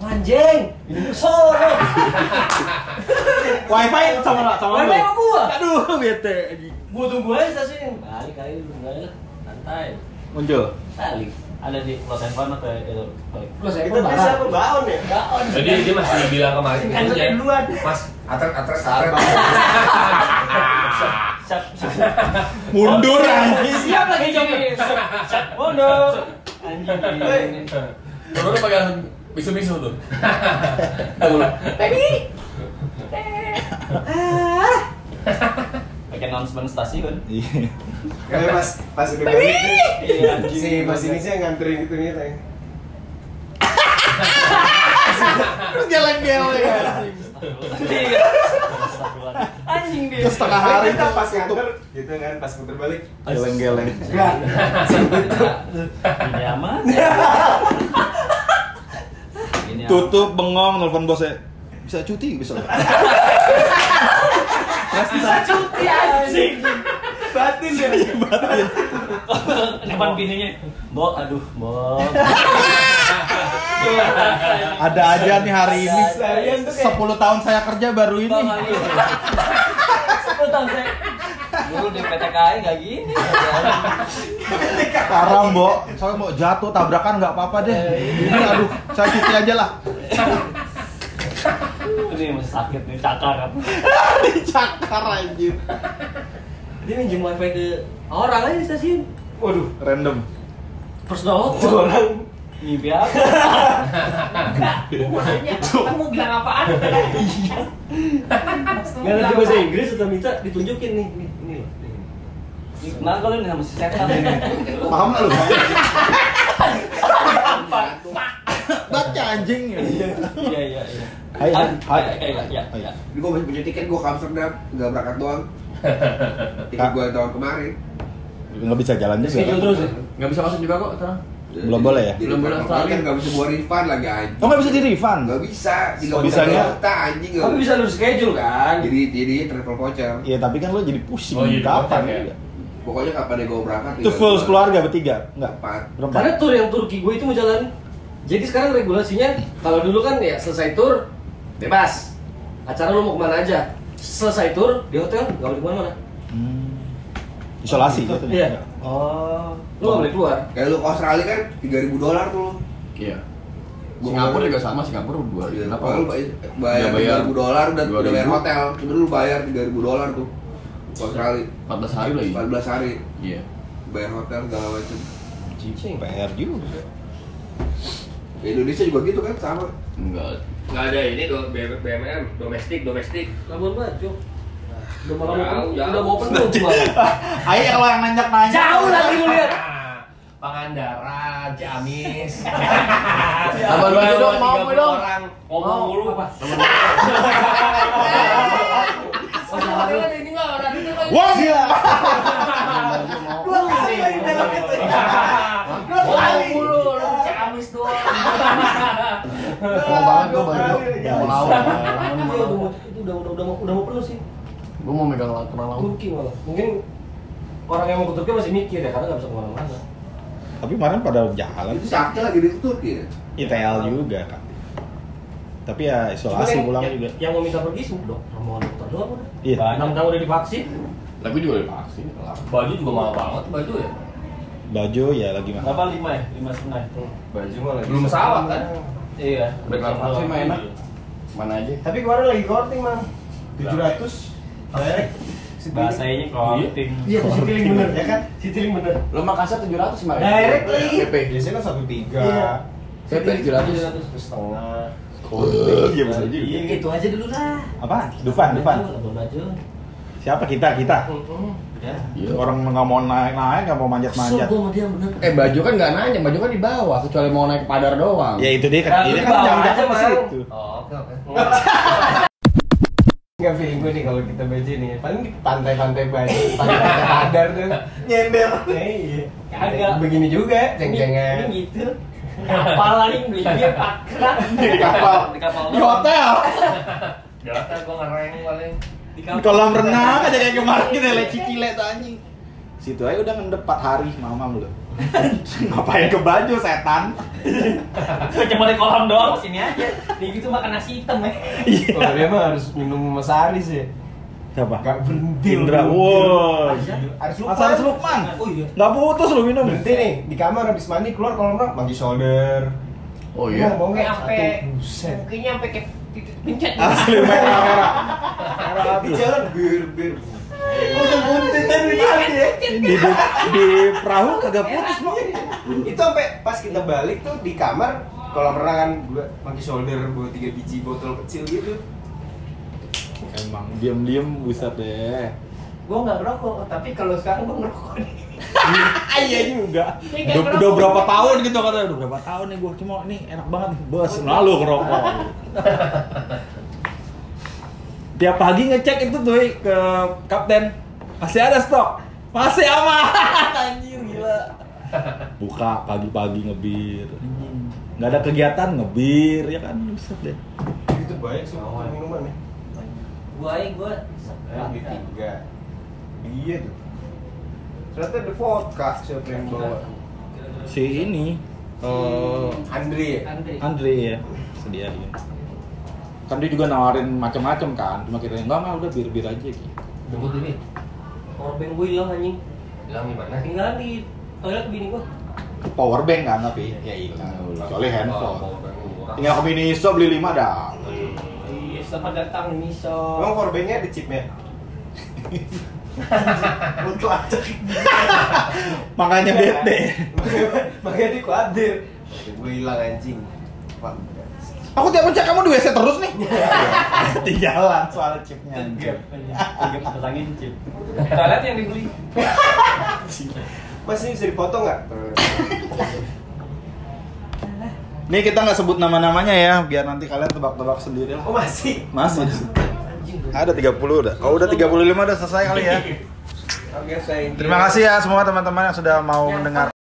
Speaker 6: Anjing. Ini solo.
Speaker 1: Wifi sama lah, sama
Speaker 6: Mana
Speaker 1: lu.
Speaker 6: sama gua?
Speaker 1: Aduh, bete.
Speaker 6: Gua tunggu aja stasiun. Balik kali lu enggak lah. Santai.
Speaker 1: Muncul.
Speaker 6: Balik. Ada di Los Angeles atau itu balik.
Speaker 3: Lu saya
Speaker 5: kita bisa apa baon ya
Speaker 3: Jadi dia masih bilang kemarin
Speaker 7: Kan
Speaker 3: gitu ya.
Speaker 7: duluan.
Speaker 3: Mas,
Speaker 4: Atret, atret, atret
Speaker 6: Siap. siap.
Speaker 1: Mundur anjing.
Speaker 6: Siap lagi jam ini. Mundur. Anjing.
Speaker 12: Baru pegang bisu-bisu tuh.
Speaker 6: Pakai announcement stasiun.
Speaker 1: Iya.
Speaker 5: kayak pas pas udah balik tuh, si mas ini sih yang nganterin gitu nih tanya
Speaker 7: Anjing dia.
Speaker 1: Ke setengah hari
Speaker 5: kita pas nganter gitu kan pas muter balik
Speaker 1: geleng-geleng.
Speaker 6: Iya.
Speaker 5: enggak
Speaker 6: Ini aman. Ini aman.
Speaker 1: Tutup bengong nelfon bosnya. Bisa cuti bisa.
Speaker 7: Cuti anjing.
Speaker 5: batin ya
Speaker 6: Depan pintunya. Bo, aduh, bo.
Speaker 1: Ada aja nih hari ini.
Speaker 5: seharian tuh kayak
Speaker 1: 10 tahun saya kerja baru ini.
Speaker 6: Bang Ali. Sepuluh tahun saya. Dulu di PTKI nggak gini.
Speaker 1: Parah, Mbok. Saya mau jatuh tabrakan nggak apa-apa deh. Ini aduh, saya cuti aja lah.
Speaker 6: Ini masih sakit nih cakar.
Speaker 1: Dicakar anjir.
Speaker 6: Dia minjem wifi ke orang aja di stasiun.
Speaker 5: waduh
Speaker 1: Random.
Speaker 6: Personal
Speaker 5: itu orang
Speaker 6: Mimpi apa?
Speaker 7: Gua nanya, kan mau bilang apaan? Kan Iya.
Speaker 6: Nggak ngerti bahasa Inggris atau minta ditunjukin nih. Nih, ini loh. Iya, Nih. Nggak, gue udah sama si setan
Speaker 1: Paham nggak lu? Baca anjing ya.
Speaker 6: Iya, iya, iya
Speaker 1: Hai, hai, hai.
Speaker 6: Iya, iya, iya
Speaker 12: Ini gue masih punya tiket, gue ke Amsterdam, nggak berangkat doang. Tiket
Speaker 1: Kak.
Speaker 12: gue tahun kemarin.
Speaker 1: Nggak bisa jalan juga kan?
Speaker 6: Schedule terus ya?
Speaker 8: Nggak bisa masuk juga kok, terang.
Speaker 1: Belum boleh ya?
Speaker 12: Jadi
Speaker 8: Belum boleh
Speaker 12: kan
Speaker 8: Australia.
Speaker 12: nggak bisa buat refund lagi anjing.
Speaker 1: Oh nggak bisa di refund? Oh,
Speaker 12: Nggak bisa, tiga
Speaker 1: Bisanya-
Speaker 12: juta anjing nggak
Speaker 6: Tapi
Speaker 12: bisa.
Speaker 6: Iya. bisa lu schedule kan?
Speaker 12: Jadi jadi travel voucher.
Speaker 1: Iya tapi kan lu jadi pusing
Speaker 3: Oh, iya,
Speaker 1: kapan
Speaker 3: di kotak ya.
Speaker 1: juga.
Speaker 12: Pokoknya kapan deh gue berangkat?
Speaker 1: Itu
Speaker 5: Iya,
Speaker 12: tinggal
Speaker 1: full
Speaker 12: gua-
Speaker 1: keluarga bertiga? Enggak.
Speaker 12: Empat.
Speaker 1: Berempat.
Speaker 6: Karena tour yang Turki gue itu mau jalan. Jadi sekarang regulasinya kalau dulu kan ya selesai tour bebas. Acara lu mau kemana aja. Selesai tour di hotel nggak boleh kemana-mana.
Speaker 1: Hmm. Isolasi gitu.
Speaker 6: Iya.
Speaker 1: Oh.
Speaker 6: Lu nggak boleh keluar.
Speaker 12: Kayak lu ke Australia kan 3000 dolar tuh.
Speaker 8: Iya.
Speaker 12: Gua
Speaker 8: Singapura
Speaker 12: kemarin-
Speaker 8: juga sama, Singapura dua
Speaker 12: Lu
Speaker 4: Iya,
Speaker 8: ribu.
Speaker 12: Kenapa?
Speaker 8: Kenapa? ya?
Speaker 12: Lu bayar
Speaker 8: Udah Iya, bayar.
Speaker 12: 3000 dolar udah udah bayar
Speaker 8: 2000.
Speaker 12: hotel. Cuma lu bayar 3000 dolar tuh. Ke Australia
Speaker 8: 14 hari lagi.
Speaker 12: 14 hari
Speaker 8: Iya.
Speaker 12: bayar hotel segala macam.
Speaker 1: PR juga.
Speaker 12: Di Indonesia juga gitu kan sama.
Speaker 8: Enggak.
Speaker 3: Nggak ada ini do- B- BMM, domestik, domestik.
Speaker 6: Labuan Bajo. Udah malam
Speaker 3: Jauh,
Speaker 6: open,
Speaker 3: jauh.
Speaker 6: udah mau open belum kemana?
Speaker 1: Ayo kalau yang nanya-nanya.
Speaker 6: Jauh lagi lu lihat.
Speaker 3: Pangandaran, Ciamis.
Speaker 8: Labuan Bajo dong, mau
Speaker 3: Tiga
Speaker 8: gue dong.
Speaker 3: Orang ngomong
Speaker 6: Mau.
Speaker 3: mulu.
Speaker 6: Apa?
Speaker 3: Oh, jangan ada ini nggak orang itu nggak.
Speaker 1: Wah.
Speaker 7: Dua kali gua di dalam itu. Dua
Speaker 3: Wow,
Speaker 7: kali.
Speaker 3: mulu, lu Ciamis doang.
Speaker 8: Mau banget gue baru. Mau lawan.
Speaker 6: Iya, udah mau- Itu udah udah udah mau udah mau penuh sih.
Speaker 8: Gue mau megang lawan kenal lawan.
Speaker 6: Turki malah. Mungkin orang yang mau ke Turki masih mikir ya karena nggak bisa kemana-mana.
Speaker 1: Tapi kemarin pada jalan.
Speaker 12: Itu sakit lagi di Turki
Speaker 4: iya.
Speaker 12: ya.
Speaker 1: ITL juga kan. Tapi
Speaker 6: Cuma
Speaker 1: ya isolasi
Speaker 6: yang-
Speaker 1: pulang
Speaker 6: yang-
Speaker 1: juga.
Speaker 6: Yang mau minta pergi sih dok, mau dokter doang udah.
Speaker 1: Iya.
Speaker 6: Enam tahun udah divaksin.
Speaker 8: Tapi gue juga udah vaksin. kelar.
Speaker 3: Baju juga mahal banget, baju ya.
Speaker 1: Baju ya lagi mahal.
Speaker 6: Berapa lima ya? Lima setengah.
Speaker 5: Baju mah lagi.
Speaker 3: Belum pesawat kan?
Speaker 6: Iya.
Speaker 8: Berapa vaksin mah enak. Mana aja?
Speaker 5: Tapi kemarin lagi korting, Mang. 700 bayar
Speaker 6: Bahasanya clothing.
Speaker 5: Iya, Citiling bener Iya. ya kan?
Speaker 6: Citiling bener.
Speaker 8: Lo Makassar 700 kemarin.
Speaker 5: Directly.
Speaker 4: Iya.
Speaker 8: PP.
Speaker 5: Biasanya kan satu tiga,
Speaker 6: Iya.
Speaker 8: PP 700.
Speaker 5: satu setengah.
Speaker 1: Iya bener juga.
Speaker 6: Iya, itu aja dulu lah.
Speaker 1: Apa? Dufan, Dufan.
Speaker 6: Labuan Bajo.
Speaker 1: Siapa kita? Kita.
Speaker 6: Mm-mm. Ya.
Speaker 8: Iya.
Speaker 1: Orang nggak mau naik-naik, nggak mau
Speaker 6: Kesel
Speaker 1: manjat-manjat.
Speaker 6: gua sama dia bener.
Speaker 8: Eh baju kan nggak nanya, baju kan di bawah kecuali mau naik padar doang.
Speaker 5: Iya,
Speaker 1: Ya itu dia kan.
Speaker 6: Nah,
Speaker 1: Ini
Speaker 6: lu
Speaker 1: kan
Speaker 6: bawa
Speaker 1: jangan-jangan
Speaker 6: aja,
Speaker 1: ke
Speaker 6: Mang.
Speaker 1: situ.
Speaker 3: Oh, oke oke.
Speaker 5: Enggak feeling gue nih kalau kita baju nih. Paling di pantai-pantai baju, pantai-pantai padar tuh.
Speaker 7: Nyender.
Speaker 5: Ya, iya.
Speaker 6: Eh, Kagak.
Speaker 5: Begini juga,
Speaker 6: Ini
Speaker 5: ceng-cengan.
Speaker 6: gitu. Kapal lah nih beli dia pakrat.
Speaker 1: Di kapal.
Speaker 6: Di kapal.
Speaker 1: Di hotel.
Speaker 3: Jakarta gua ngereng paling.
Speaker 6: Di
Speaker 1: Di kolam renang aja kayak kemarin kita leci cile tuh anjing. Situ aja udah ngendep 4 hari mamam lu. Ngapain ke baju setan?
Speaker 6: Cuma di kolam doang sini aja. Di gitu makan nasi hitam ya.
Speaker 5: Kalau dia mah harus minum Mas Aris ya.
Speaker 1: Siapa?
Speaker 5: Gak berhenti.
Speaker 1: Indra.
Speaker 5: berhenti.
Speaker 1: Wow.
Speaker 5: Aris lupa.
Speaker 1: Mas Aris Lukman.
Speaker 6: Oh iya.
Speaker 1: Enggak putus lu minum.
Speaker 5: Berhenti nih di kamar habis mandi keluar kalau enggak mandi shoulder.
Speaker 8: Oh iya.
Speaker 5: Mau nggak?
Speaker 7: Sampai
Speaker 5: Satu, Buset. Ah.
Speaker 7: Mungkinnya sampai ke titik pencet.
Speaker 1: Asli merah-merah.
Speaker 5: Di jalan bir bir.
Speaker 7: Udah buntin dari
Speaker 1: Iya,
Speaker 7: tadi ya.
Speaker 1: Di, di, di perahu kagak putus lu.
Speaker 5: Itu sampai pas kita balik tuh di kamar kolam renang kan gua pakai shoulder bawa tiga biji botol kecil gitu.
Speaker 1: Emang diam-diam buset deh.
Speaker 7: Gua nggak ngerokok, tapi kalau sekarang gua ngerokok nih.
Speaker 1: Ah, Iya juga.
Speaker 7: Ini
Speaker 1: Udah,
Speaker 7: kayak ngerokok.
Speaker 1: udah berapa tahun gitu kata udah berapa tahun nih gua cuma nih enak banget nih. Bos, lalu ngerokok. Tiap pagi ngecek itu tuh ke kapten. Masih ada stok. Masih aman. Anjir gila. Buka pagi-pagi ngebir.
Speaker 7: Hmm.
Speaker 1: Nggak ada kegiatan ngebir ya kan buset deh.
Speaker 5: Itu baik sih
Speaker 8: Oh, iya.
Speaker 5: bukan minuman ya.
Speaker 6: Gua aja gua. Iya.
Speaker 5: Eh, Di tiga. Dia tuh. Ternyata ada vodka siapa yang bawa?
Speaker 1: Si ini eh
Speaker 5: Andre. ya?
Speaker 6: Andre.
Speaker 1: Andre ya sedia dia kan dia juga nawarin macam-macam kan cuma kita enggak mah udah bir bir aja gitu
Speaker 3: Jemput ini.
Speaker 6: Korban gua hilang anjing.
Speaker 3: Hilang gimana?
Speaker 6: Tinggalan di toilet bini gua.
Speaker 1: power bank kan tapi ya hilang kecuali handphone
Speaker 3: Tinggal.
Speaker 1: tinggal ke mini shop beli lima dah
Speaker 6: Iya, selamat datang di Miso.
Speaker 5: Emang korbannya ada chipnya? Untuk acak.
Speaker 1: makanya bete
Speaker 5: Ya, Makanya dia khawatir. Gue hilang anjing. Wah,
Speaker 1: Aku tiap mencet kamu di WC terus nih. Ketinggalan soalnya chipnya.
Speaker 6: Tegap aja. Tegap pasangin chip. Toilet yang dibeli.
Speaker 5: Mas ini bisa dipotong nggak?
Speaker 1: Nih kita nggak sebut nama-namanya ya, biar nanti kalian tebak-tebak sendiri lah.
Speaker 5: Oh masih?
Speaker 1: Masih. Ada 30 udah. Oh udah 35 udah selesai kali ya.
Speaker 5: Oke, saya. ya.
Speaker 1: Terima kasih ya semua teman-teman yang sudah mau mendengar.